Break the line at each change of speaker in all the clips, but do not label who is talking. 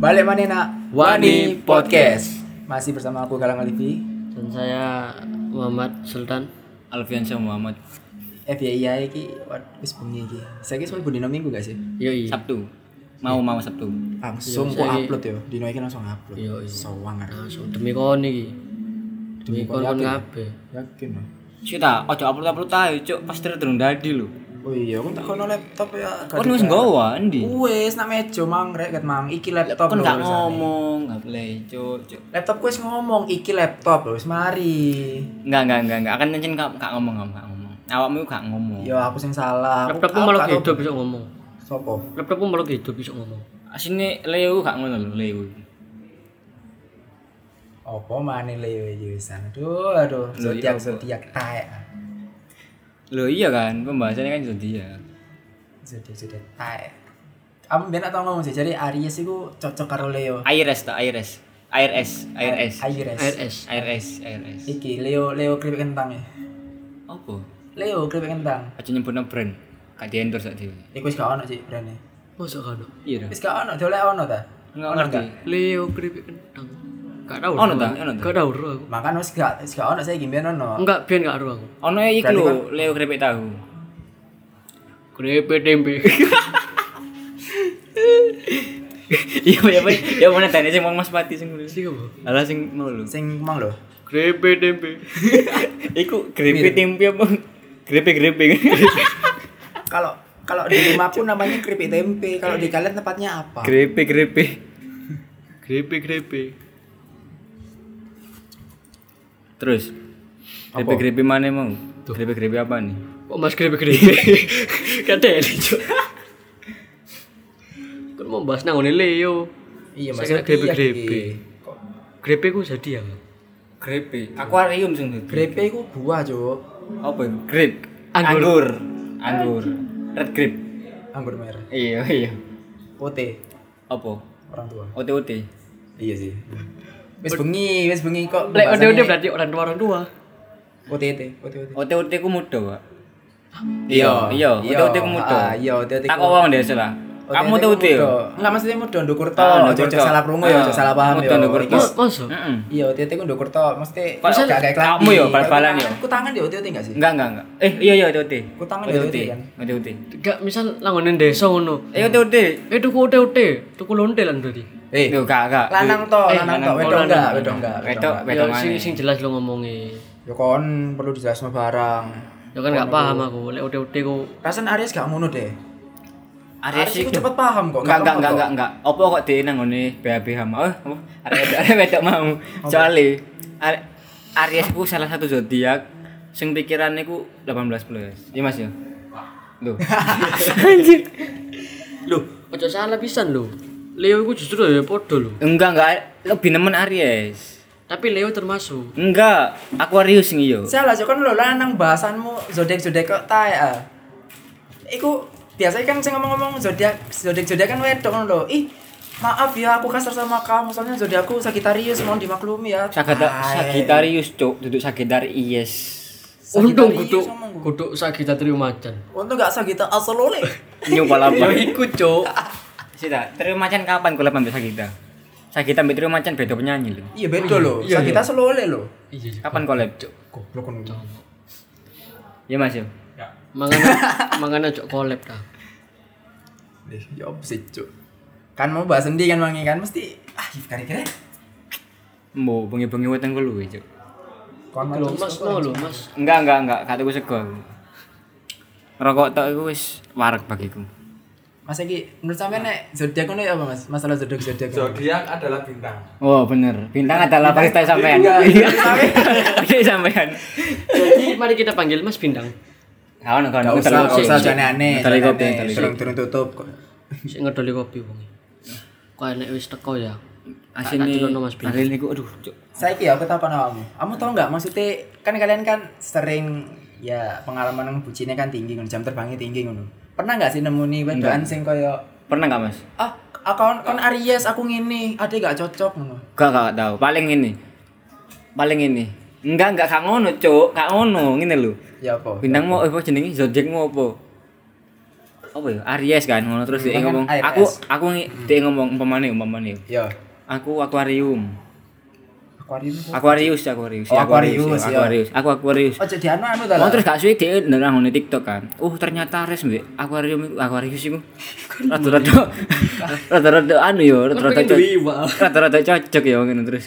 Balik mana nak?
Wani Podcast.
Masih bersama aku Galang Alifi.
dan saya Muhammad Sultan
Alfiansyah Muhammad
FYI Eh, iya, iki wis bengi iki. Saiki wis bunyi dino minggu gak sih?
yoi
Sabtu mau mau Sabtu
Langsung ku upload
ya?
yo. Dino iki langsung upload.
Iya, iya.
Sawang arep.
langsung demi kon iki demi kon kon kabeh
Yakin no?
Cita, ojo upload upload tayo cuk pas terus terus dadi lho
Oh iya, aku tak kono laptop ya.
kon Oh, wis nggawa endi
Wes nak meja mang rek ket mang. Iki laptop lho,
kon gak
urusan.
ngomong gak play cuk cuk
Laptop ku wis ngomong iki laptop lho wis mari.
enggak enggak enggak enggak akan nyencen gak gak ngomong gak gak ngomong awakmu iku gak ngomong
Yo aku sing salah. Aku-
laptopku
aku
melok
gak-
hidup bisa ngomong
Sopo?
laptopku melok hidup bisa ngomong
asine Leo gak ngono lho Leo
Opo mana Leo iki wisan. Aduh, aduh.
Lho, iya,
Zodiak
apa?
zodiak taek.
lho iya kan pembahasannya kan jadi ya
Zodiak zodiak taek. Kamu biar nak tau ngomong sih, jadi Aries itu cocok karo Leo
Aires ta Aires Aires Aires
Aries
RS
Aires Aires
Iki, Leo, Leo keripik kentang ya
opo
Leo keripik kentang
aja nyebutnya brand gak di endorse sak dhewe
Iku wis gak ono sih brandnya
masa kan
iya
Wis gak ono, dia oleh ono ta
enggak ngerti
Leo keripik kentang gak tau
Ono
aku.
tak? Ono tak?
gak tau ro aku
Makan wis gak, wis gak ono saya gimbian ono
enggak biar gak ro aku
Ono ya iku
Berarti
lho, Leo krepek tahu.
keripik tempe
Iya, ya ben, ya mana tanya sing wong Mas Pati sing ngono.
sih apa
Alah sing mau lho.
Sing mang lho
keripik tempe
Iku grepe tempe apa? Grepe-grepe.
Kalau kalau di rumah pun namanya keripik tempe Kalau di kalian tempatnya apa?
Grepe-grepe.
keripik keripik
Terus grepe-grepe mana mau? Grepe-grepe apa nih?
kok mas keripik keripik gak ada kan mau bahas nang ngene Leo
Iya
Saya kira
maksudnya
keripik-keripik.
iya, iya. Kok
keripik ku jadi ya
Grepe. Akuarium sing grepe.
Keripik itu buah cuk
Apa? Grape.
Anggur.
Anggur. Red grape.
Anggur merah
Iya, iya.
Ote
Apa?
Orang tua
Ote-ote.
Iya sih Wis bengi, wis bengi kok
Lek
pembahasannya-
udah-udah berarti orang tua orang tua.
OTT, OTT.
Ote-ote ku muda, Pak. Iya, iya, ote-ote ku
Ah,
muda.
Iya, OTT.
Tak wong desa lah. Kamu
OTT
ote-ote
ku
yo.
muda. Enggak maksudnya muda Ndukurto,
Ah,
ojo
Ndukurto.
salah prungu ya, ojo
Ah,
salah paham
muda
ya.
Ndukurto.
Iki-
Masa?
Heeh.
Iya, OTT ku Ndukurto, mesti
Masa
gak kayak klambi.
kamu yo, bal-balan yo.
Ku tangan di OTT enggak sih?
Enggak, enggak, enggak. Eh, iya iya ote-ote.
Utang ada
ote-ote.
ote-ote kan?
Ote-ote.
Gak misal langganan desa ngono.
Eh ote-ote.
Eh tuku ote-ote, tuku lonte lan berarti.
Eh,
Duh, enggak, enggak.
lanang to, lanang to, wedok enggak, wedok enggak,
Eh, Wedok,
Ya
wedok mana?
sing sing jelas lo ngomongnya.
Yo kon perlu dijelasno barang.
Ya kan gak paham aku. Lek ote-ote ku
Rasan Aries gak ngono deh.
Arek
Aries
sik.
ku cepet paham kok.
Enggak, enggak,
lama
enggak,
kok.
enggak, enggak. Apa kok dhewe nang ngene BABH mau? Eh, apa? Arek wedok, arek wedok mau. Soale arek Aries ku salah satu zodiak sing pikirannya ku 18 plus. Iya Mas ya. Loh. Anjir. Loh,
ojo salah pisan lo. Leo ku justru ya podo lo.
enggak enggak lebih nemen Aries.
Tapi Leo termasuk.
Enggak, Aquarius sing iya. iyo.
Salah, Cok. kan lo lanang bahasanmu zodiak-zodiak kok tae ah. Iku biasanya kan sing ngomong-ngomong zodiak zodiak-zodiak kan wedok ngono lho. Ih, maaf ya aku kasar sama kamu soalnya zodiakku Sagittarius mohon dimaklumi ya.
Sagata-
Tai.
Sagittarius, Cuk. Duduk Sagittarius.
Untung
Sagittarius
kudu
ngomong gua.
kudu Sagittarius macan.
Untung gak Sagittarius asal lo le.
Nyu palapa.
iku cuk.
Sita, Trio Macan kapan kula pamit Sagita? Sagita mbek Trio Macan beda penyanyi lho.
Iya beda lo.
Iya, iya.
Sagittarius lo le lo.
Iya. iya.
Kapan collab, Cuk?
Goblok ngono.
Ya Mas yo.
Mangana mangana cuk collab ta.
Ih, ya apa sih, Cuk? Kan mau bahas sendiri kan mangi kan mesti ah kira-kira.
Mbo bengi-bengi weteng kulo we, Cuk.
Kon
Lo Mas mau lo Mas.
Enggak, enggak, enggak, gak tuku sego. aku. Rokok tok iku wis wareg bagiku.
Mas iki menurut sampean nek zodiak ngono ya apa Mas? Masalah zodiak-zodiak.
Zodiak adalah bintang.
Oh, bener. Bintang adalah pesta sampean. Iya. Oke, Iya, sampean.
Jadi mari kita panggil Mas Bindang.
Gak ono kan.
Gak usah, gak usah
jane
jangan aneh.
Tali
jangan
kopi,
aneh.
tali
Turun
kopi.
turun tutup kok.
Sing ngedoli kopi wong. Kok enek wis teko ya.
Asine.
Tak delokno Mas Bintang.
Asine iku aduh, Cuk.
Saya kira ya, aku tahu awakmu. Kamu tahu nggak maksudnya kan kalian kan sering ya pengalaman yang bucinnya kan tinggi ngono, jam terbangnya tinggi ngono. Pernah nggak sih nemu nih wedokan sing koyo
Pernah gak, Mas?
ah akon kon Aries aku ngene, ade gak cocok ngono.
Gak gak tahu. Paling ini. Paling ini. Enggak enggak gak ngono, Cuk. Gak ngono, ngene lho.
Ya apa?
eh, Bintang mau apa jenenge? Zodiac mau apa? apa ya Aries kan ngono terus dia
Bukan
ngomong
Aries.
aku aku ngi- dia ngomong umpamane umpamane
Yo.
aku akuarium
Aquarium. iku-
Aquarius Aquarius
Oh,
ya,
Aquarius,
ya,
ya.
Aquarius aku Aquarius
Oh jadi anu anu ta.
Oh
lah.
terus gak suwe dia nang ngone TikTok kan. Oh ternyata Aries mbek akuarium iku akuarius iku. Rada-rada rada-rada anu yo, rada-rada
pengen beli,
cocok.
Pak.
Rada-rada cocok ya ngono terus.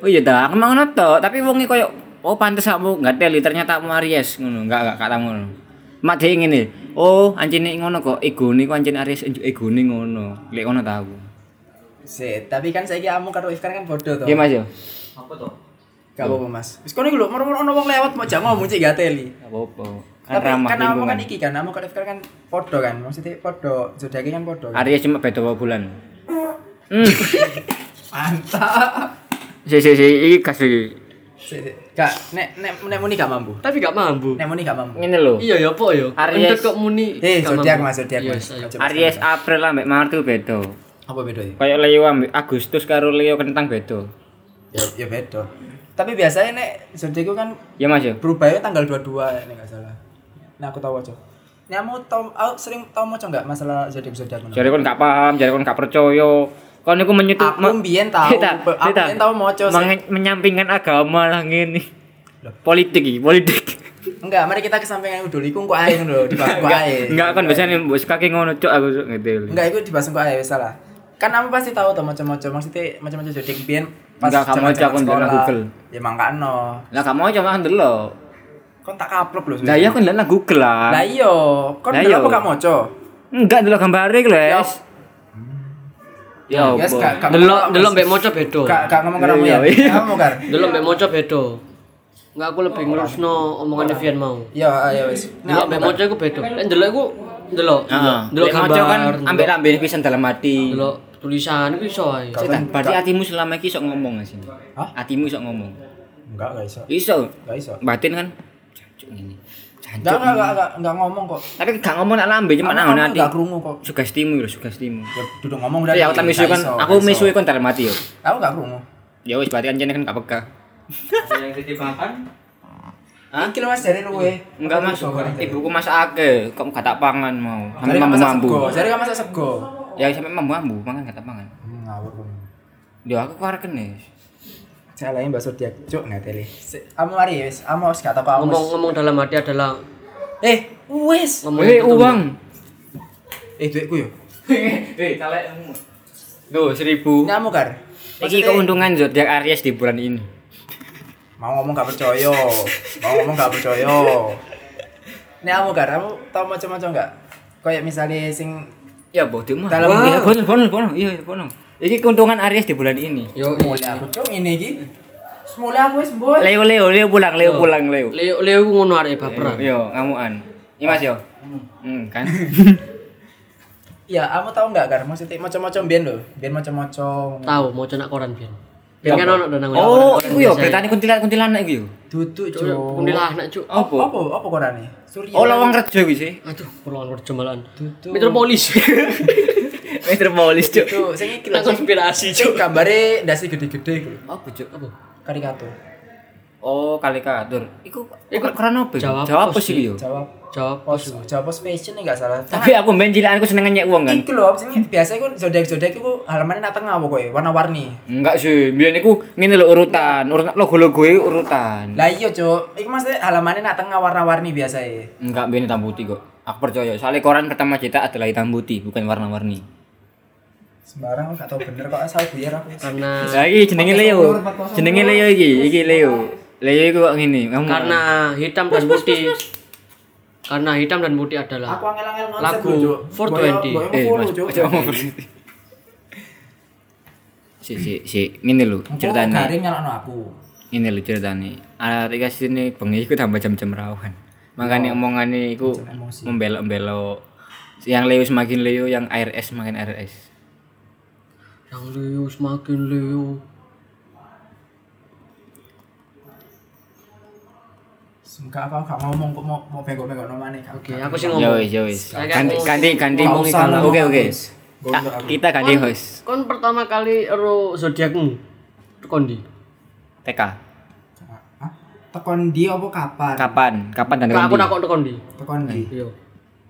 Oh iya dah, aku mau ngono to, tapi wonge koyo oh pantes kamu gak teli ternyata kamu Aries ngono, enggak enggak katamu ngono. Mak dia ngene. Oh, anjene ngono kok egone ku anjen Aries egone ngono. Lek ngono ta aku.
Sih, tapi kan saiki kamu karo Ifkan kan bodoh to.
Iya Mas yo.
Apa tuh?
Gak apa-apa Mas. Wis kono iku lho, moro-moro ono wong lewat mau jak ngomong cek gak teli.
Gak apa-apa. Kan
Tapi
ramah
kan kamu
lingkungan.
kan iki kan, kamu karo Ifkan kan podo kan. Maksudnya podo, zodiaknya kan podo. Kan?
Aries cuma beda bulan. Hmm.
Mantap.
Si si si iki kasih
Sik, sik. Gak nek nek nek muni gak mampu.
Tapi gak mampu.
Nek muni gak mampu.
ngene lho.
Iya ya apa ya?
Aries.
Entek kok muni.
Eh,
gak
zodiak
mampu.
Mas, zodiak
Iya,
Mas.
iya.
Coba
Aries
sekarang.
April ambek Maret itu beda.
apa beda ya?
Kayak Leo ambek Agustus karo Leo kentang beda.
Ya, ya beda. Tapi biasanya nek zodiak itu kan
Ya Mas ya.
berubahnya tanggal 22 nek gak salah. Nah, aku tahu aja. Nek kamu tau aku sering tau maca enggak masalah zodiak-zodiak ngono?
Jare kon gak paham, jare kon gak percaya. Kan Kon niku menyetup
Aku mbiyen tahu, aku mbiyen tahu maca sih.
menyampingkan agama lah ngene.
Loh.
Politik iki, politik.
Enggak, mari kita kesampingan udah iku engko ae ngono lho, dibahas engko ae.
Enggak kan biasanya mbok kaki ngono cok aku cok ngedel.
Eh, Enggak, iku dibahas engko ae wis salah. Kan kamu pasti tahu tau maca-maca maksudnya macam-macam zodiak biyen
Enggak, kamu
zaman-zaman
aja aku ndelok
sekolah.
Google.
Ya mangkano.
Lah gak mau coba ndelok.
Kon tak kaplok lho.
Lah iya kon ndelok nang Google lah.
Lah iya, kon
Lah
ndelok
iya.
apa gak maca?
Enggak ndelok gambare iku, Les. Ya
Yes, gak-
apa?
gak-
Delok
gak-
delok mbek moco bedo.
Gak gak ngomong karo ya.
Iya, iya.
Kamu kan.
Delok mbek moco bedo. Enggak aku
Oh.
lebih ngelurusno omongannya Vian mau.
Ya, ayo wis.
Delok mbek moco iku bedo. Lek ndelok iku ndelok.
Heeh.
Delok
Lek mau
gambar.
coba kan ambek
ndelok-
lambene pisan dalam hati.
Delok tulisan iku iso ae.
Gak-
Setan, berarti hatimu selama ini sok ngomong gak sih?
Hah?
Hatimu sok ngomong.
Enggak, enggak iso.
Iso.
Enggak iso.
Batin kan jancuk ini. Jancuk.
Enggak, enggak, enggak, enggak, enggak ngomong kok.
Tapi gak ngomong nak lambe cuma nang ngono ati.
Enggak krungu kok.
Sugestimu lho, sugestimu.
Ya duduk ngomong udah.
Tapi aku tak misu kan, aku misu kan dalam hati yo.
Aku enggak krungu.
Ya wis berarti anjene kan gak peka. Hah?
Iki lho Mas dari luwe.
Enggak mas, ibuku masakake, kok gak tak pangan mau.
Dari
Sampai
kamu masak
mambu-mambu.
sego. Dari kamu masak sego.
Ya sampai mambu-mambu, mangan gak tak pangan.
Hmm, ngawur kamu.
Ya aku kuareken wis.
Salahnya bakso dia cuk enggak teli. Kamu mari wis, kamu harus kata apa kamu.
Ngomong-ngomong dalam hati adalah
Eh, wis.
ngomong itu
Eh
tuh.
uang.
Eh, duitku yo.
Eh, kalek. Duh, seribu.
Nyamu kar.
Iki
Nah, Maksudnya-
keuntungan zodiak Aries di bulan ini.
mau ngomong gak percaya mau ngomong gak percaya nek kamu gak kamu tau macam-macam gak kayak misalnya sing
Ya bodoh mah.
Dalam-
Wah, iya, bono bono bono. Iya, iya, bono. Iki keuntungan Aries di bulan ini.
Yo
mulai aku cung ini iki mulai aku wis mbok
Leo Leo Leo pulang Leo pulang Oh. Leo.
Leo Leo iku ngono arek baperan.
Yo ngamuan. Iya Mas yo. Hmm kan.
ya kamu tau gak kan maksudnya macam-macam biyen lho biyen macam-macam
Tahu mau cenak koran Vian. Biar kan ono nang
Oh, iku yo beritane kuntilanak kuntilanak iku yo.
duduk
Cuk,
cung
kuntilanak cuk.
Apa?
apa apa korane surya
Oh, lawang kerja iku sih.
Aduh, perlawan kerja malahan.
Tutup.
Metropolis.
Metropolis cuk.
tuh sing iki lho
Kita konspirasi
sing
cuk.
gambare ndase gede-gede iku lho
Apa cuk?
Apa?
karikatur
Oh, kali katur. Iku iku karena apa?
Jawab
Jawab apa
pos
sih yo?
jawab
Jawab
pos jawab pos fashion nih gak salah
Tapi aku main cilakanku seneng nyek uang kan.
Iku lho, sing biasa iku zodiak-zodiak iku halamannya nang tengah pokoknya, warna-warni.
Enggak sih, biyen iku ngene lho urutan, urutan logo-logo iku urutan.
Lah iya, Cuk. Iku maksudnya halamannya nak tengah warna-warni biasa ya.
Enggak biyen hitam putih kok. Aku percaya, soalnya koran pertama cetak adalah hitam putih, bukan warna-warni.
Sembarang gak tau bener kok asal buyar aku.
Karena
Lah iki jenenge Leo. Jenenge Leo iki, iki Leo. Leo iku kok ngene, kamu.
karena
Hmm.
hitam dan putih. Karena hitam dan putih adalah
Ah.
Aku angel-angel
Lagu 420.
eh
Eh,
Mas, aja ngomong berhenti. Si si si, ngene lho ceritane.
Garing nyalakno aku.
Ngene lho ceritane. Arek kasih ini bengi iku tambah jam-jam rawan. Makanya omongane iku
emosi.
membelok-belok. Yang Leo semakin Leo, yang RS semakin RS.
yang Leo semakin Leo.
Enggak apa gak ngomong kok mau mau bengok-bengok nomane gak.
Oke, aku sih
Ya
ngomong.
wis, ya wis.
Saya
Ganti
ngomong.
ganti ganti
Nggak
ngomongin
usah
kalau-
ngomong,
Oke oke.
Mas. Nggak
Ka-
usah, aku.
Kita ganti host.
Kon pertama kali ero zodiakmu. Kondi.
TK.
Hah? ah? Tekon di apa kapan?
Kapan? Kapan dan
Kak aku
kondi? Eh.
nakok kondi.
Tekon di.
Iya.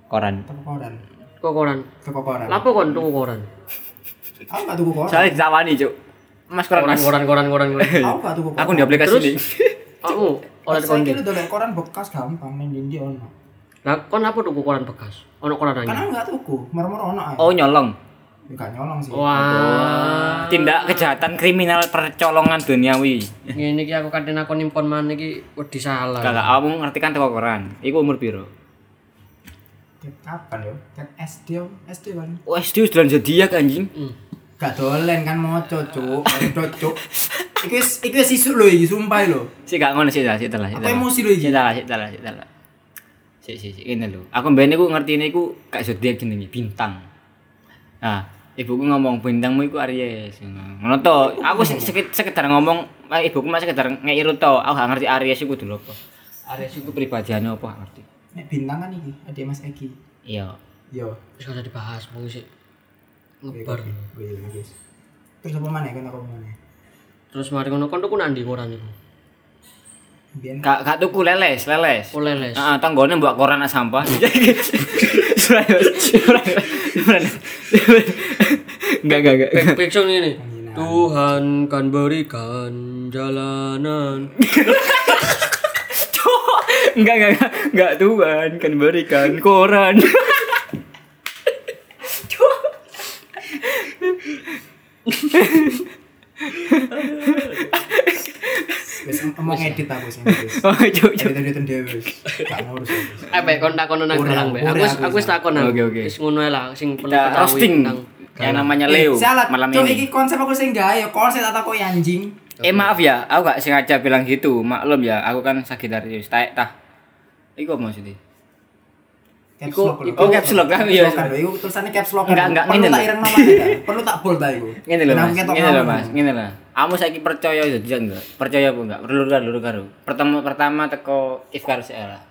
Koran.
Tekon koran.
Kok koran?
kekokoran.
Lapo kon tuku koran?
Aku gak tuku koran.
Soalnya ditawani, Cuk. Mas koran
Koran
Mas.
koran koran koran. koran.
Aku gak tuku koran.
Aku di aplikasi
Terus?
nih.
Kamu oleh
Saya
kon.
kira dolek koran bekas gampang main dindi ono.
Lah kon apa tuku koran bekas? Ono koran anyar.
Kan aku gak tuku, marmor ono ae.
Oh, nyolong.
Ya gak nyolong sih.
Wah.
Tindak kejahatan kriminal percolongan duniawi.
Ngene iki aku kadene aku nimpon maneh iki wedi salah.
Kakak, kamu ngerti kan teko koran. Iku umur piro?
Tiap kapan yo? Tiap SD yo, SD kan.
Oh, SD wis dolan zodiak anjing.
Hmm.
Gak dolen kan moco cuk, moco cuk. Iku wis iku wis isuk lho iki sumpah lho.
Sik gak ngono sik dah, sik dah, sik
Aku
dah.
emosi lho iki.
Sik dah, sik dah, sik dah. Sik sik sik ngene lho. Aku mbene ku ngertine ku gak zodiak jenenge bintang. Nah, ibuku ngomong bintangmu iku Aries. Ngono to. Aku sek- sek- sekedar ngomong, eh, ibuku mah sekedar ngeiru to. Aku gak ngerti Aries iku dulu apa. Aries iku pribadiane apa gak ngerti.
Nek bintang kan iki, ada Mas Eki.
Iya.
Yo.
Wis kada dibahas mung sik ngebar.
Oh iya guys. Terus apa maneh kan aku maneh?
Terus mari ngono kon tuku nandi koran iku?
Biyen
Gak gak tuku leles, leles.
Oleh les.
Heeh, tanggone mbok koran nak sampah. Suraya- suraya- suraya- Enggak, enggak, enggak.
Fiction ini.
Penginan.
Tuhan kan berikan jalanan.
Enggak, enggak, enggak, enggak Tuhan kan berikan koran.
wis em- emang edit aku sih guys.
Oh, cuk, cuk.
Edit-edit dhewe wis. Gak ngurus aku. wis.
Eh, baik, kon takon nang
Ora,
barang, Bek.
ora
Aku wis-
aku
aku wis takon nang.
Oke, oke.
Wis ngono ae lah sing perlu
Kita
ketahui
roasting
tentang-
yang namanya Leo
Eh, salah.
malam
Cuk,
ini.
iki konsep aku sing gawe ya konsep tak takoki anjing.
Eh maaf ya, aku gak sengaja bilang gitu. Maklum ya, aku kan Sagittarius. Taek tah. Iku apa maksudnya?
Caps
Iku-
lock lho.
Oh, caps lock kan iya.
Caps lock kan, lho. Iku tulisannya caps lock. kan,
Enggak,
lho.
enggak,
Perlu
ngene
tak
lho.
ireng nomane, kan? Perlu tak bold ta iku.
Ngene lho
Nah,
Mas,
mungkin tak
ngene lho
ngomong.
Mas, ngene lho. Kamu saiki percaya ya dia enggak? Percaya apa enggak? Perlu karo lur karo. Pertama pertama teko Ifkar Sela.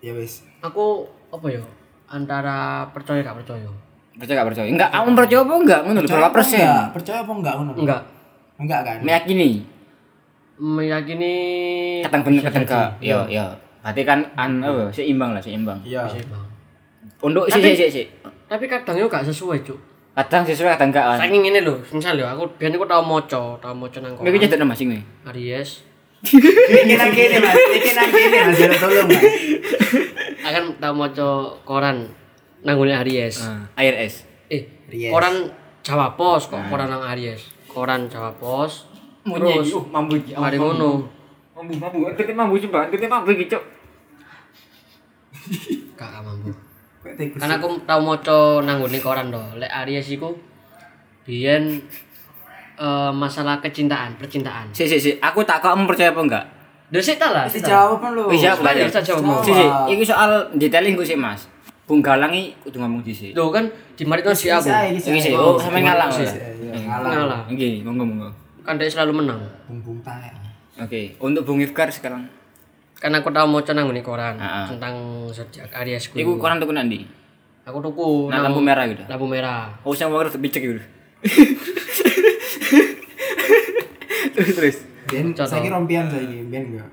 Ya wis.
Aku apa ya? Antara percaya gak percaya?
Percaya enggak percaya? Enggak, kamu percaya apa enggak? Ngono lho
Percaya
berapa
apa
persen?
enggak? Percaya apa enggak ngono?
Enggak.
Enggak kan?
Meyakini.
Meyakini
Ketang bener ketang enggak. Yo yo. Berarti kan an apa, seimbang lah, seimbang.
Iya.
Bisa, Bang.
Untuk sih sih sih. sih.
Tapi kadang yo gak sesuai, Cuk.
Kadang sesuai kadang enggak. kan.
Saking ngene lho, misal yo aku biyen aku tau maca, tau maca nang
Mungkin
koran.
cedak Mas sing kuwi.
Aries.
Pikiran kene Mas, pikiran kene Mas, jangan tolong. Iya, Mas.
Akan tau maca koran nang gone Aries.
Air es.
Eh,
Aries.
koran Jawa Pos kok koran nang Aries. Koran Jawa Pos. Terus
mambu iki.
mari ngono.
Mambu mambu. Titik mambu coba. Titik mambu iki, Cuk.
Gak gak mampu.
Kok tikus?
Kan aku tau maca nang gone koran to. Lek Aries iku biyen eh, masalah kecintaan, percintaan.
Sik sik sik. Aku tak kamu percaya apa enggak?
Dhewe sik ta lah.
Wis dijawab lho.
Wis jawab lah ya.
Bisa jawabmu.
Sih, sih, iki soal detailing ku sih, Mas. Bung Galang iki kudu ngomong dhisik.
Lho kan di mari to si aku.
Iki sih, oh sampe ngalang.
Sik,
ora?
sik, iya,
Eh,
ngalang.
Ngalah.
Nggih, monggo monggo.
Kan dhek selalu menang.
Bumbung ya. tae.
Oke, untuk Bung Ifkar sekarang.
Kan aku tau maca nang gone koran
Ah, ah.
tentang zodiak Aries ku.
Iku koran tuku nang ndi?
Aku tuku
Nang lampu merah gitu.
Lampu merah.
Oh, sing wae dicek gitu. terus terus.
Ben
Contoh.
saiki rompian saiki, ben enggak.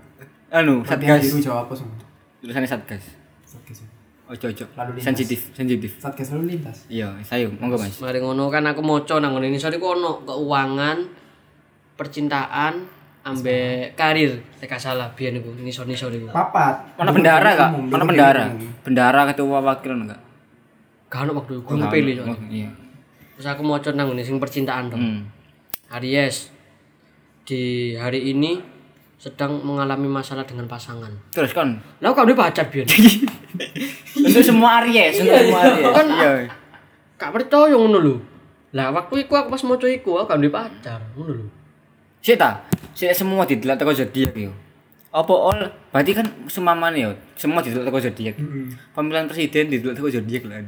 Anu,
Satgas
Satgas.
iku jawab apa semua?
Tulisannya Satgas.
Satgas.
Ojo ojo.
Lalu lintas.
Sensitif, sensitif.
Satgas lalu lintas.
Iya, sayo, monggo Mas.
Mari ngono kan aku maca nang ngene sore ku ono keuangan, percintaan, ambek karir. Nek gak salah biyen iku nisor-nisor iku.
Papat.
Mana bendara enggak?
Umum,
Mana
umum,
bendara?
umum.
Bendara ketua wakil enggak?
Gak ono waktu iku pilih soalnya.
Iya.
Terus aku maca nang ngene sing percintaan to.
Hmm.
Aries di hari ini sedang mengalami masalah dengan pasangan.
Terus kon,
Lah kok duwe pacar biyen?
Untuk semua Aries, untuk semua Aries.
Kan-
Iya.
Gak percaya ngono lho. Lah waktu iku aku pas maca iku aku gak duwe pacar ngono lho.
Sik ta? Sik semua didelok teko zodiak yo. Apa all? Berarti kan sumamane yo, semua didelok teko zodiak. Pemilihan presiden didelok teko zodiak lah.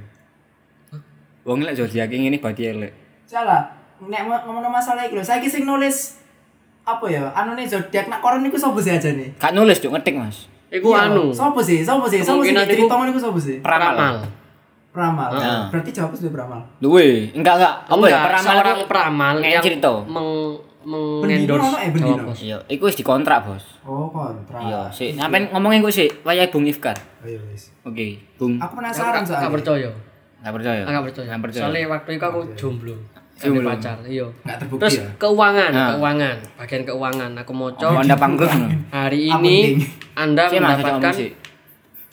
Wong lek zodiak ngene berarti elek.
Salah. Nek mo- ngomong masalah iki lho, saiki sing nulis apa ya? Anu nih zodiak nak koran niku sapa sih aja nih?
Gak nulis cuk ngetik, Mas.
Iku anu
Sapa sih? Sapa sih? Sapa sih?
Kemungkinan
Jadi
iku-
tongon niku sapa sih?
Peramal.
peramal.
Peramal.
Heeh.
Berarti jawab sudah peramal.
Duwe, enggak enggak. Apa ya
Enggak,
peramal
seorang
itu-
peramal
Kayak
yang
cerita.
meng-
Bendino
mengendorse
ono eh bendino.
Jawa Pos.
Iya, iku wis dikontrak, Bos.
Oh, kontra.
Iya, sik. Sampeyan ngomongin ku sik, wayahe Bung Ifkar.
Ayo Oh, iya, wis.
Oke, Bung.
Aku
Aku
penasaran
gak- gak
soalnya.
percaya.
Enggak percaya.
Enggak percaya.
Enggak percaya.
Soalnya waktu itu aku jomblo. Jomblo
Jomblo.
pacar, iya.
Nggak terbukti
Terus
ya?
keuangan,
Ah.
keuangan, bagian keuangan aku moco
Oh, Anda pangkrut. no?
hari
Ah,
ini Anda
Sih, Mas, cocok
mendapatkan
ngomong, sih.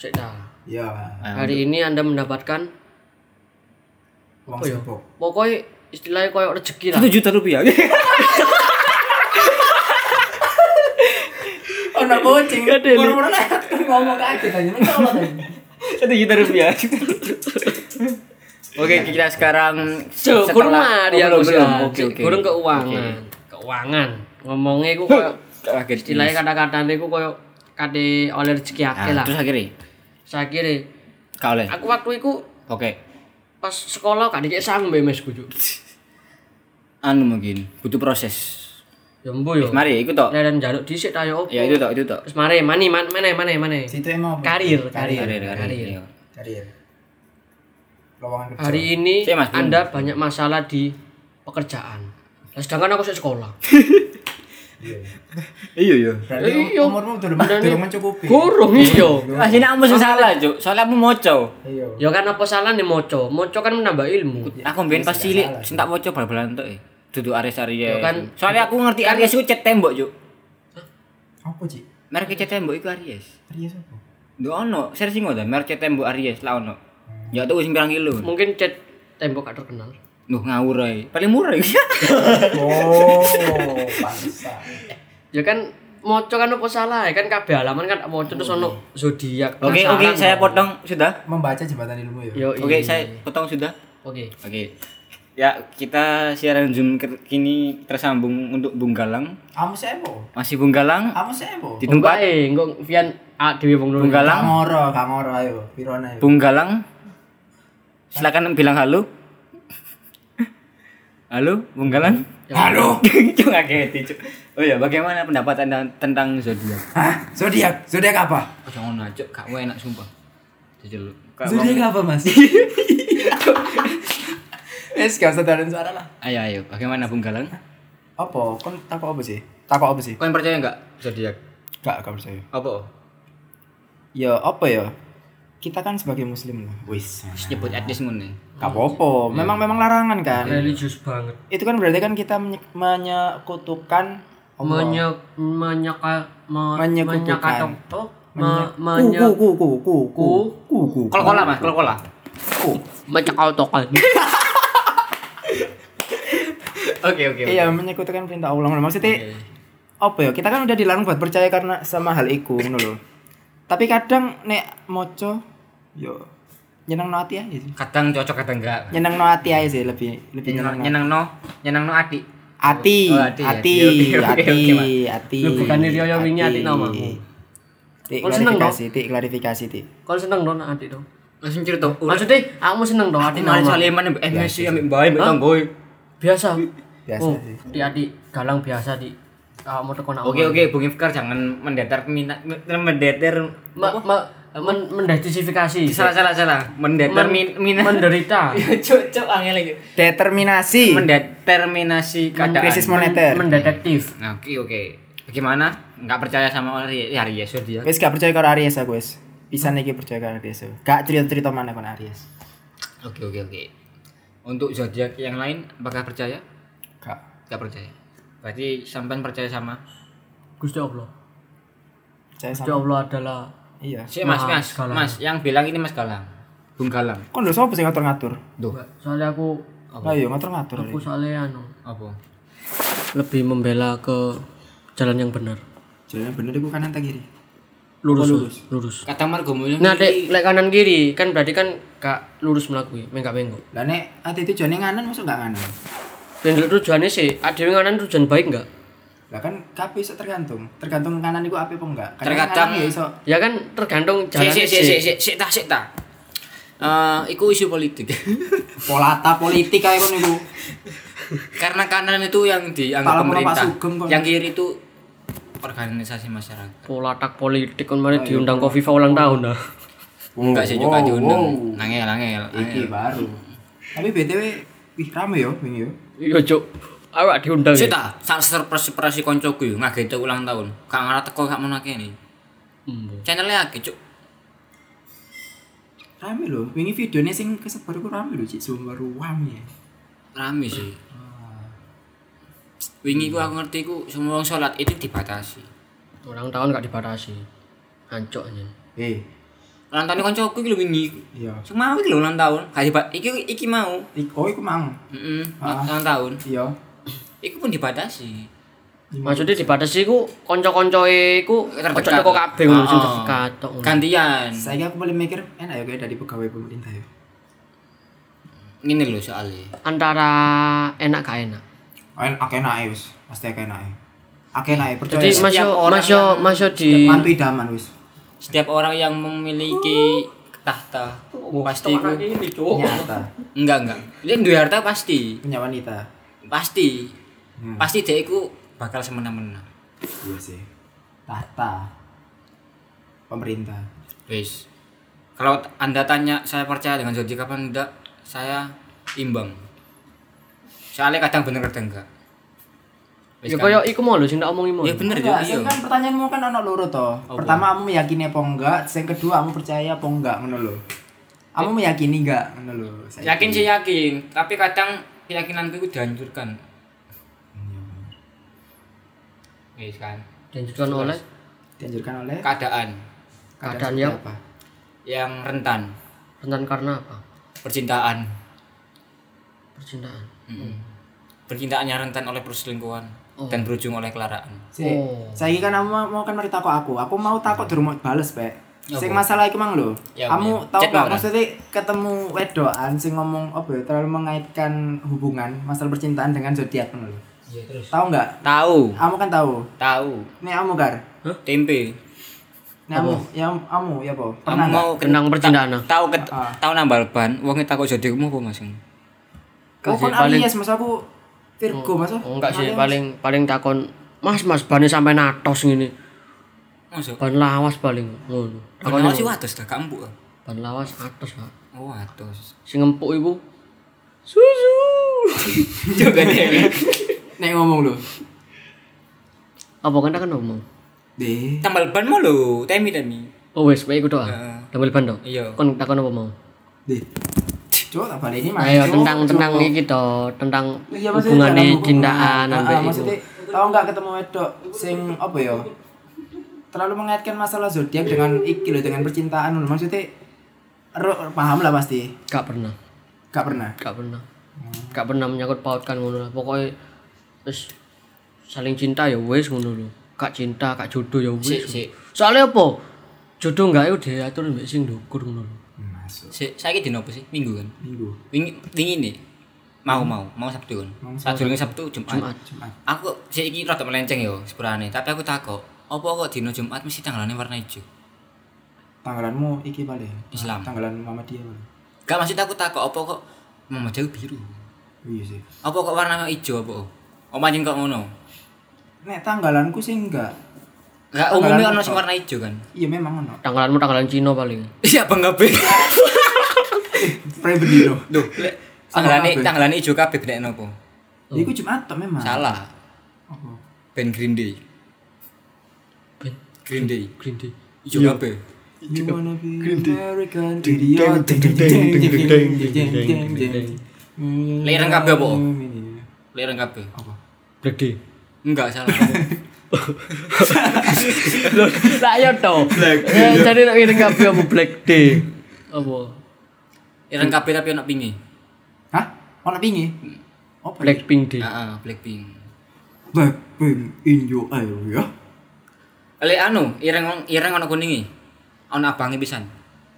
Cek dah.
Iya.
Ah,
Hari ini Anda mendapatkan
Wong
apa ya?
sibuk.
Pokoknya istilahnya koyo rezeki lah.
Satu juta rupiah.
Oh, nak bocing. Murmur lah ngomong kaget aja. Nggak apa-apa, kan?
Satu juta rupiah. Iya. Oke, kita sekarang
So,
setelah-
kurang mari aku
Oh, belum,
sih.
belum. Oke, oke.
Kurang keuangan. Keuangan. Ngomongnya iku koyo
Kaget.
istilahnya kata-katanya iku koyo kate oleh rezeki akeh
Nah,
lah.
terus akhirnya
Saya kira
kau oleh.
aku waktu itu
Oke.
pas sekolah kan dikek sang bemes kujuk.
Anu mungkin butuh proses.
Ya mbo yo.
Mari ikut tok.
Leren jaluk dhisik ta yo. opo.
Ya itu tok, itu tok.
Terus mari mani man, mana mana mana.
Situ emang apa?
Karir, karir,
Karir, karir.
karir.
iya.
Karir. Lowongan kerja. Iya.
Hari ini
Sik, Mas,
Anda banyak masalah di pekerjaan. Nah, sedangkan aku sik sekolah.
Iya.
Iya, iya.
Berarti
Iya.
umurmu belum belum mencukupi.
Gurung iyo.
Mas ini kamu sing salah, Cuk. Soalnya kamu moco.
Iya.
Ya kan apa salah nih moco? Moco kan menambah ilmu.
Aku mbien pas cilik sing tak moco bal-balan tok. eh. Duduk Aries Aries.
Ya kan.
Soalnya aku ngerti Aries ku cet tembok, Cuk.
Apa, Cik?
Merek cet tembok iku Aries.
Iya, siapa?
Duh ono, serius ngono ta, merek cet tembok Aries lah ono. Ya tuh sing pirang kilo.
Mungkin cat tembok gak terkenal.
Duh ngawur ae. Paling murah iki.
Oh, pantesan.
Ya kan moco kan apa salah ya kan kabeh halaman kan moco terus ono zodiak.
Oke,
penasaran
oke,
kok.
saya potong sudah.
Membaca jembatan ilmu ya.
Yo, iya.
Oke, saya potong sudah.
Oke.
Oke. Ya, kita siaran Zoom ke- kini tersambung untuk Bung Galang.
Kamu sebo.
Masih Bung Galang
Ah,
Kamu sebo.
di
Tempat
tempat
eh engko Vian A dhewe wong loro.
Bung
Kak
Galang.
ngoro, kak ngoro ayo. Pirona ayo.
Bung Galang. Silakan bilang halo. Halo, Bung Galang.
Halo.
Cuk ngageti, Cuk. Oh ya, bagaimana pendapat Anda tentang zodiak?
Hah? Zodiak, zodiak apa?
Aja ngono, Cuk. Gak enak sumpah. Jujur lu.
Zodiak apa, Mas? Wes gak usah dalan suara lah.
Ayo, ayo. Bagaimana Bung Galang?
Apa? Kon takut apa sih? Takut apa sih?
Kalian percaya nggak zodiak?
Gak, gak percaya.
Apa?
Ya apa ya? Kita kan sebagai muslim lah. Wis. Iya.
Nyebut etnis ngono.
Gak apa-apa. Memang memang larangan kan.
Religius banget.
Itu kan berarti kan kita menye- menyekutukan Allah.
Menye menyeka me,
Menyekutukan.
menyekatok oh, me,
Menye-
menye
ku
Uhuh.
ku ku ku ku ku ku ku
Kolokola, Mas, kolokola.
ku.
menyekautokan.
Oke, oke. oke.
Iya, menyekutukan perintah Allah. Maksudnya apa ya? Kita kan udah dilarang buat percaya karena sama hal iku ngono lho. Tapi kadang nek ya, moco yo nyenang no hati aja sih.
Kadang cocok, kadang enggak.
Nyenang no hati aja sih lebih lebih nyenang. no.
Nyenang no, nyenang no adik.
Ati,
Oh,
ati,
ati,
ati,
ati. Oke, oke, oke, oke,
ati, ati.
Lu bukannya Rio yang wingi ati nama.
Tik
Kon seneng,
klarifikasi, tik klarifikasi, tik.
Kau seneng dong adik dong.
Langsung cerita.
Maksudnya aku seneng dong adik
Mari
nama.
saliman ambek MSC ambek bae ambek tonggoe.
Biasa.
Biasa
Oh,
sih.
di adik galang biasa di ah, mau tekan aku.
Oke oke Bung Ifkar jangan mendeter minat mendeter
Me, me, men, mendetensifikasi.
salah salah salah mendeter
Men-
min- minat
menderita.
cocok angel lagi
Determinasi,
mendeterminasi
krisis
keadaan.
moneter.
Mendetektif.
Nah, Oke oke. Bagaimana? Enggak percaya sama orang ya hari Yesus dia.
Wis gak percaya karo Aries aku wis. Pisan iki percaya karo Aries. aku. Gak cerita-cerita mana kon Aries.
Oke oke oke. Untuk zodiak yang lain apakah percaya?
Gak
Enggak percaya. Berarti sampean percaya sama
Gusti Allah.
percaya
Gusti
sama.
Allah adalah
Iya.
Si
Mas
Mas, Mas,
Galang.
Mas, yang bilang ini Mas Galang. Bung Galang.
Kon lho sapa sing ngatur-ngatur?
Duh.
soalnya aku
Lah iya ngatur-ngatur.
aku soalnya anu
Apa?
lebih membela ke jalan yang benar.
Jalannya bener iku kanan ta kiri?
Lurus lurus. lurus.
Kata Margomulo
Nah, dek, lek kanan kiri kan berarti kan gak lurus melaku, mengkak mengko.
Lah nek ati itu jane kanan masuk gak kanan?
Dan dulu tujuannya sih, ada yang kanan tujuan baik nggak?
Lah kan kabeh iso tergantung. Tergantung kanan iku apik apa enggak.
Terkadang-
kanan ya iso
Ya kan tergantung
Sik
jalan
sik sik sik sik sik tak sik tak. Eh, iku isu politik.
polata politik kayak ngono iku.
Karena kanan itu yang dianggap
Kalau mau Pak
pemerintah.
Sugeng kok.
Yang kiri itu organisasi masyarakat.
Pola tak politik kan mana diundang Kofifa ulang tahun ah. dah.
Enggak sih
Wow, wow.
juga diundang. Nangel nangel.
Iki baru. Tapi BTW wih rame yo wingi yo.
Iya, Cuk. Awak diundang.
Sik
ya?
tak, sak surprise surprise koncoku yo ngagete ulang tahun. Kak ngara teko gak menake ni.
Hmm.
Channelnya akeh, Cuk.
rame lho wingi videonya sing kesebar ku rame lho cik sumber ruam ya
rame sih wingi ku aku ngerti ku semua orang sholat itu dibatasi
Orang tahun gak dibatasi. Hancur aja.
eh
ulang tahun koncoku iki lho wingi iku.
iya
Sing mau iki lho ulang tahun gak dibat iki iki mau
Ik- oh iku mang
heeh
Ah.
ulang tahun
iya
iku pun dibatasi
Maksudnya dibatasi ku kanca-kancoe ku ojo
Hmm. Terdekat.
teko kabeh ngono sing
Ah, ah.
terdekat tok
Oh.
ngono.
gantian
saya aku boleh mikir enak ya kayak dari pegawai pemerintah ya
ngene lho soalnya
Antara enak gak enak.
Oh,
Ayo, akeh naik ya, wis, pasti ya. akeh naik. Akeh naik ya, percaya.
Jadi
setiap
masuk
orang
masuk
yang-
masuk di
mantu idaman wis.
setiap orang yang memiliki tahta
Oh,
pasti ku
Nyata,
enggak enggak dia duwe harta pasti
punya wanita.
pasti
Hmm.
pasti dia iku bakal semena-mena
Iya sih. Tahta. Pemerintah.
Wis. Kalau t- Anda tanya saya percaya dengan zodiak apa enggak, saya imbang. Soalnya kadang bener kadang enggak.
Ya
Wis kan?
koyo iku mau lho sing tak omongi mau.
Ya bener yo
Enggak,
iya.
sing kan pertanyaanmu kan ono loro to. Pertama kamu meyakini apa enggak, sing kedua kamu percaya apa enggak ngono lho. Kamu meyakini enggak ngono lho. Saya-
Yakin sih yakin, tapi kadang keyakinanku itu dihancurkan.
Iya,
Wis kan.
Dilanjutkan oleh
Dianjurkan oleh
Keadaan
keadaan
seperti
yang
apa?
yang rentan,
rentan karena apa?
percintaan.
Percintaan.
Mm-mm. Percintaannya rentan oleh perselingkuhan dan berujung oleh kelaraan.
Sik,
Oh.
saiki kan kamu mau kan mari takok aku. Aku mau takok durung mau bales, Pak. Sing masalah iku mang lho.
Ya,
Kamu
ya.
tau
Chat
gak
orang.
maksudnya ketemu wedokan sing ngomong apa ya terlalu mengaitkan hubungan masalah percintaan dengan zodiak ngono lho.
Iya terus.
Tahu nggak?
Tahu,
Kamu kan tahu.
tahu.
Nek kamu gar.
Tempe.
Nek kamu, ya kamu ya apa? Pernah
Kamu
nggak?
mau
Kenang percintaan. ah.
tahu ke
Ah.
tahu nambal ban wong tak kok jadi kamu apa mas
Oh,
kasih
kan
paling-
Aries, masa aku Virgo, masa?
Oh, Enggak sih,
Aries.
paling paling takon Mas Mas bane sampai natos ngene.
masuk
Ban lawas paling ngono. Takon
kalau sih watus dah kampung
ban lawas atos, Pak.
oh watus
Sing empuk iku susu.
juga deh
Nek ngomong lho.
Apa kan kan ngomong?
Deh.
tambal ban mau lo temi temi
Oh wes, wae iku tok. ah. Tambal ban tok.
Iya.
Kon takon apa mau?
Deh. Cuk, tak baleni Mas.
Ayo
Cuk,
tentang
cuk.
tentang iki to, tentang
Iya maksudnya dalam
hubungane
hubungan.
cintaan
Ah,
sampai
ah,
iku.
Maksudnya tau nggak ketemu wedok sing apa ya? Terlalu mengaitkan masalah zodiak dengan iki loh dengan percintaan loh. Maksudnya ro, paham lah pasti.
Gak pernah.
Gak pernah.
Gak pernah. Gak pernah menyangkut pautkan ngono lah. Pokoke wis saling cinta ya wis ngono lho. Gak cinta, gak jodoh ya
si
wis.
si
Soalnya apa? Jodoh gak iku diatur mbek sing ndukur ngono lho.
Masuk.
si saya ini dino apa sih minggu kan
Minggu.
wingi wingi nih mau mau mau sabtu kan sabtu lagi sabtu jumat
Jumat.
Jumat.
aku si ini rada melenceng yo sebenarnya tapi aku takut apa kok dino jumat mesti tanggalannya warna hijau
Tanggalanmu iki paling.
Islam.
Tanggalan mama dia paling.
gak maksud aku takut apa kok mama jauh biru
Oh, Iya sih.
apa kok warna hijau apa oh mancing kok ngono
Nek tanggalanku sih enggak.
Gak umumnya ono sing warna hijau kan.
Iya memang ono.
Tanggalanmu tanggalan Cina paling.
Siapa nggak be?
Pre bedino.
Duh,
Sama
tanglane
kabeh.
tanglane hijau kabeh benek nopo?
Iku Jumat tok memang.
Salah.
Apa?
Ben Green Day.
Ben
Green Day.
Green Day.
Hijau kabeh.
You wanna be American idiot. Ding ding ding ding ding ding ding ding ding.
Lereng kabeh apa?
Hmm.
Leren kabeh.
Apa?
Black Day.
Enggak salah.
Lah ya to. Black Day. Jadi nek ireng kabeh apa Black Day. Apa?
Leren kabeh tapi ono pinge.
Hah? Ono pingi? Apa?
Blackpink Day.
Heeh, Blackpink.
Blackpink in your area.
Le anu, ireng ireng ono kuningi. Ono abange pisan.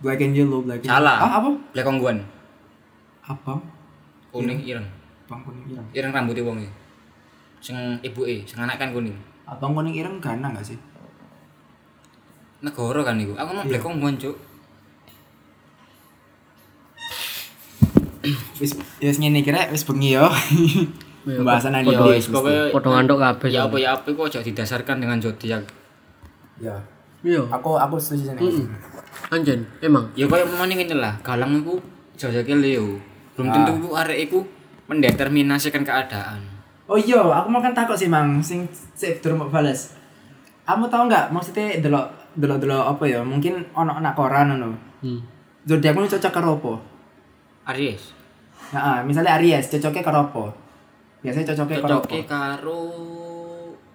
Black and yellow, black and
Salah.
Ah, apa?
Black Ongguan.
Apa?
Kuning ireng.
Abang kuning ireng.
Ireng rambutnya wonge. e. Sing ibuke, sing anak kan kuning.
Abang kuning ireng gana gak sih?
Negara kan iku. Aku mau Black Ongguan, Cuk.
Wis ya wis ngene kira wis bengi yo. Pembahasan nanti
Ya wis
Gusti.
pokoke
Padha nganduk kabeh.
ya apa ya apa kok aja didasarkan dengan zodiak.
Ya.
Iya.
Aku aku setuju sih.
Anjen, emang.
Ya koyo mene ngene lah, galang iku zodiake Leo. Belum
Ah.
tentu iku arek iku mendeterminasikan keadaan.
Oh iya, aku mau kan takut sih mang, sing sip durung mau bales. Kamu tahu nggak maksudnya delok delok delok apa ya? Mungkin ono anak koran ono.
Hmm.
zodiakmu cocok karo apa?
Aries.
Nah, misalnya Aries cocoknya karo apa? Biasanya cocoknya karo apa?
Cocoke karo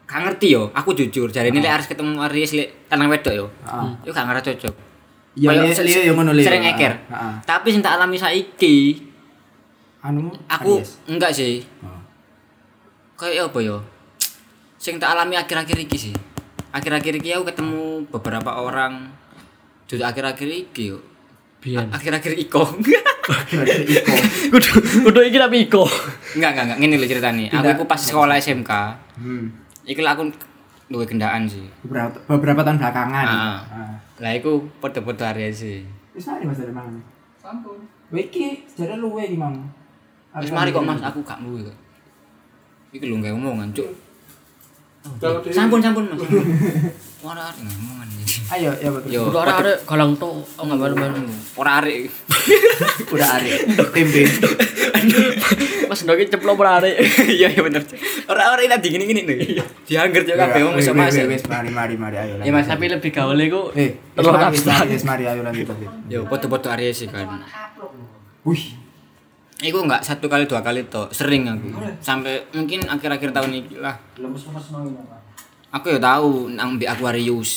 gak ngerti yo, aku jujur jare ini
Ah.
lek Aries ketemu Aries lek tanang wedok yo.
Heeh.
Yo gak ngerasa cocok.
Ya
Kayak
Leo-
se-
Leo ya ngono Ah, Leo.
Sering eker.
Heeh.
Tapi sing tak alami saiki,
Anu
aku
Aries.
enggak sih.
Heeh.
Kayak apa yo? Sing tak alami akhir-akhir iki sih. Akhir-akhir iki aku ketemu beberapa orang juga akhir-akhir iki yo.
Biyen.
Akhir-akhir iko.
Kira-kira Iko.
Kudu kudu iki tapi iko.
enggak, enggak, enggak. Ngene lho ceritane. Aku
Tidak.
iku pas sekolah SMK.
Hmm.
Iku lah aku duwe gendaan sih.
Beberapa, beberapa tahun belakangan.
Heeh.
Heeh.
Lah iku padha-padha Aries sih.
Wis mari Mas dari mana? Sampun. Wiki sejarah luwe di mana?
Mas mari kok Mas aku gak mluwe kok. Iki lho gak omongan, Cuk. Sampun sampun Mas. Ora arek ngomongan iki.
Ayo ya betul.
Yo.
Kudu ora arek galang tok. Oh enggak baru-baru.
Ora arek.
Udah hari. Tempe.
Mas ndoki ceplok ora arek.
Iya iya bener. Ora ora ila dingin-dingin iki. Diangger yo kabeh wong iso
Wis,
Mas.
wis, wis, mari mari mari ayo.
Iya Mas.
Tapi lebih gaul iku
Eh, wis,
telur
mari, wis, mari,
abstrak.
wis, mari ayo lanjut lanjut.
Yo padha-padha Aries sih kan.
Wih,
Iku enggak satu kali dua kali tok, sering aku. Sampai mungkin akhir-akhir tahun iki lah. Aku ya tahu nang mbek Aquarius.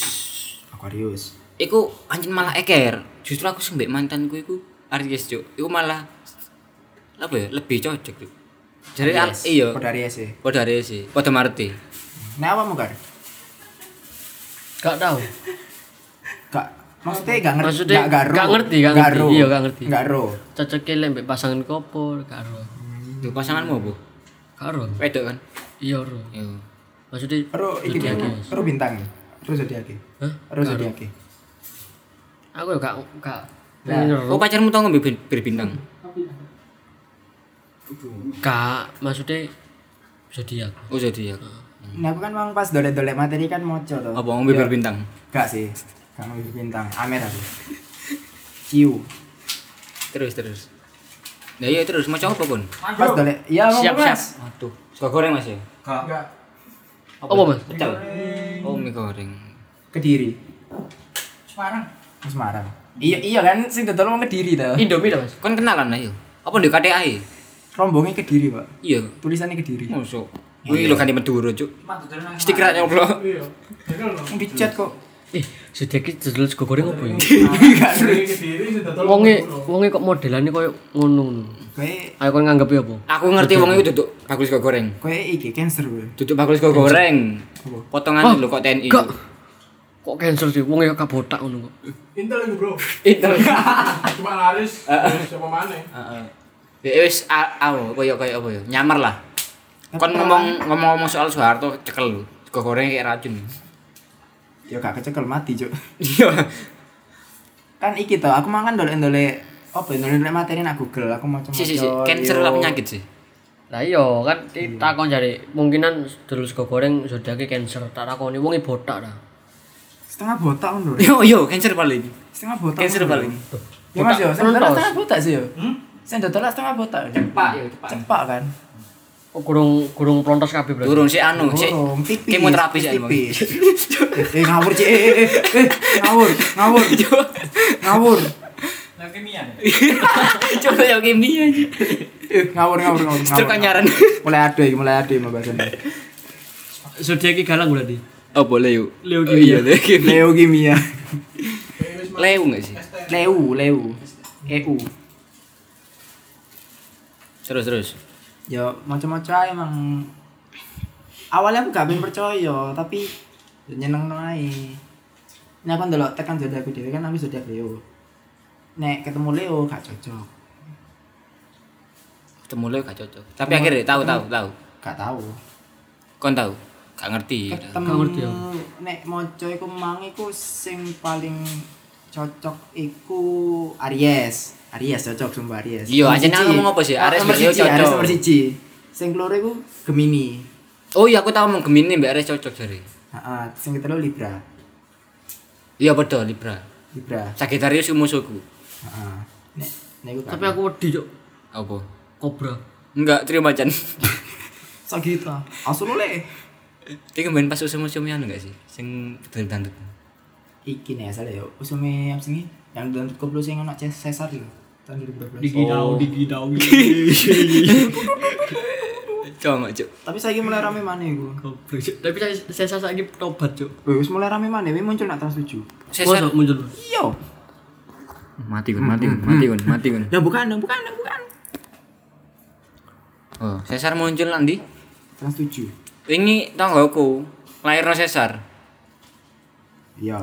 Aquarius.
Iku anjing malah eker. Justru aku sembek mantanku iku Aries cuk. Iku malah apa ya? Lebih cocok cuk. Jadi
Ah,
Aries.
iya.
Kode Aries ya.
Pada Aries sih. Pada Marti.
Nah, apa mau Gar?
Gak tahu.
Gak maksudnya gak ngerti.
Maksudnya
gak ro.
gak ngerti, gak ngerti.
ro.
Iya, gak ngerti.
Gak ro.
Cocoke lek mbek pasangan kopo gak ero.
Itu pasanganmu apa?
Gak ero.
Wedok kan?
Iya ero.
Iya.
Maksudnya
Ro iki dia.
iya.
Ro bintang. Ro zodiak.
Hah?
Ro zodiak.
Aku ya gak gak
Lah,
Bener.
Oh pacarmu tau nggak bir- berbintang?
Gak maksudnya zodiak.
Oh zodiak.
Nah, aku kan mang pas dolek-dolek materi kan moco tuh.
Apa ngombe
Ya.
berbintang?
Gak sih. Gak mau bintang. Amer aku. Ciu.
Terus terus. Nah iya terus mau coba pun.
Mas dolek. Ya,
Siap,
ngomong, Mas.
siap.
Waduh. Suka goreng mas ya?
Apa, Mas?
Pecel. Oh mie goreng.
Kediri. Semarang. Semarang. Iya, iya kan sing dodol wong Kediri ta.
Indomie dah, Mas.
Kon Kan kenalan lah yuk. Apa di KTA ya?
Rombongnya Kediri, Pak.
Iya.
Tulisannya Kediri.
Masuk. Wih lo kan di Madura cuk. Stiker aja ngobrol.
Di chat kok.
Eh, zodiak iki dodol sego goreng opo ya?
Gak seru.
Wonge wonge kok modelane koyo ngono ngono.
Kayak
Ayo kon nganggep apa?
Aku ngerti wong itu duduk bakul sego goreng.
kayak iki cancer, gue.
Duduk bakul sego goreng. Potongan lho kok TNI.
Kok kok cancer sih wonge kok kabotak ngono kok.
Intel itu bro,
Itu.
cuma laris siapa mana?
Heeh. Ya wis a- apa koyo koyo apa ya? Nyamar lah. Kon ngomong ngomong-ngomong soal Soeharto cekel lu. Sego goreng kayak racun.
Ya gak kecekel mati, Cuk.
Iya.
Kan iki to, aku makan dolek-dolek apa dolek-dolek materi nak Google, aku mau coba.
Si si si cancer lah penyakit sih.
Lah iya kan kita takon jare kemungkinan dodol sego goreng zodiake cancer tak takoni wonge botak dah.
Setengah botak ngono. lho.
Yo yo cancer paling.
Setengah botak.
Iya. Cancer
ngono lho.
paling.
Ya Mas yo, sing
Botak.
dodol setengah botak sih yo. Sing dodol setengah botak. Hmm? Cepak, cepak kan.
Oh, gurung gurung plontos kabeh berarti.
Turun si anu, si
Dorong, Oh, tipis.
kemoterapi sih. Bang.
tipis. Eh, eh, ngawur, Cik. Eh, eh, eh, eh, ngawur, ngawur. Ngawur.
Coba ya kimia.
Eh, ngawur, ngawur, ngawur.
Terus
ngawur.
kan nyaran.
Mulai ado iki, mulai ado iki pembahasannya.
Zodiak iki galang berarti.
Oh boleh yuk.
Leo
Oh, Iya Leo kimia.
Leo kimia.
Leo nggak sih?
Leu, Leu. EU.
Terus terus.
Ya, macam-macam ae emang. Awalnya aku gak pengen percaya, tapi nyeneng ae. Ini aku ndelok tekan jodoh aku dhewe kan aku jodoh Leo. Nek ketemu Leo gak cocok.
Ketemu Leo gak cocok. Tapi akhirnya tahu tahu tahu.
Gak tahu.
Kon tahu? Gak ngerti.
ketemu
Gak ngerti aku.
Eh, nek moco iku mang iku sing paling cocok iku Aries. Aries cocok sumpah Aries.
Iya,
Nomor
ajene
siji. Ah,
ngomong apa sih? Aries
nomor
mbak Leo
siji, Aries
cocok.
nomor siji. Sing keloro iku Gemini.
Oh iya aku tahu mau Gemini mbak Aries cocok jari.
Heeh, sing ketelu Libra.
Iya betul Libra.
Libra.
Sagittarius musuhku.
Heeh. Nek nek iku kan.
Tapi aku wedi cok
Apa?
kobra.
Enggak, terima Chan.
Sagitta. Asul ah. le.
Iki main pas museum museum anu enggak sih? Sing betul dandut.
iki nih asal ya usume apa sih yang dalam koplo sing ono Cesar lho tahun 2012
digidau
Oh.
digidau
Coba cuk.
tapi saiki mulai rame mana iku
goblok Cuk.
Tapi saya saya saya lagi tobat, Cuk.
Wih, wis mulai rame mana Wih, muncul nak trans 7
Masa muncul.
iya
Mati kon, mati kon, mati kon, mati kon.
ya bukan yang bukan yang bukan
Oh, Cesar muncul nanti.
trans 7
Wingi tanggoku lahirno Cesar.
iya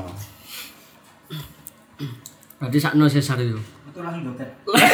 Berarti sakno sesar itu.
itu langsung dokter
Lah,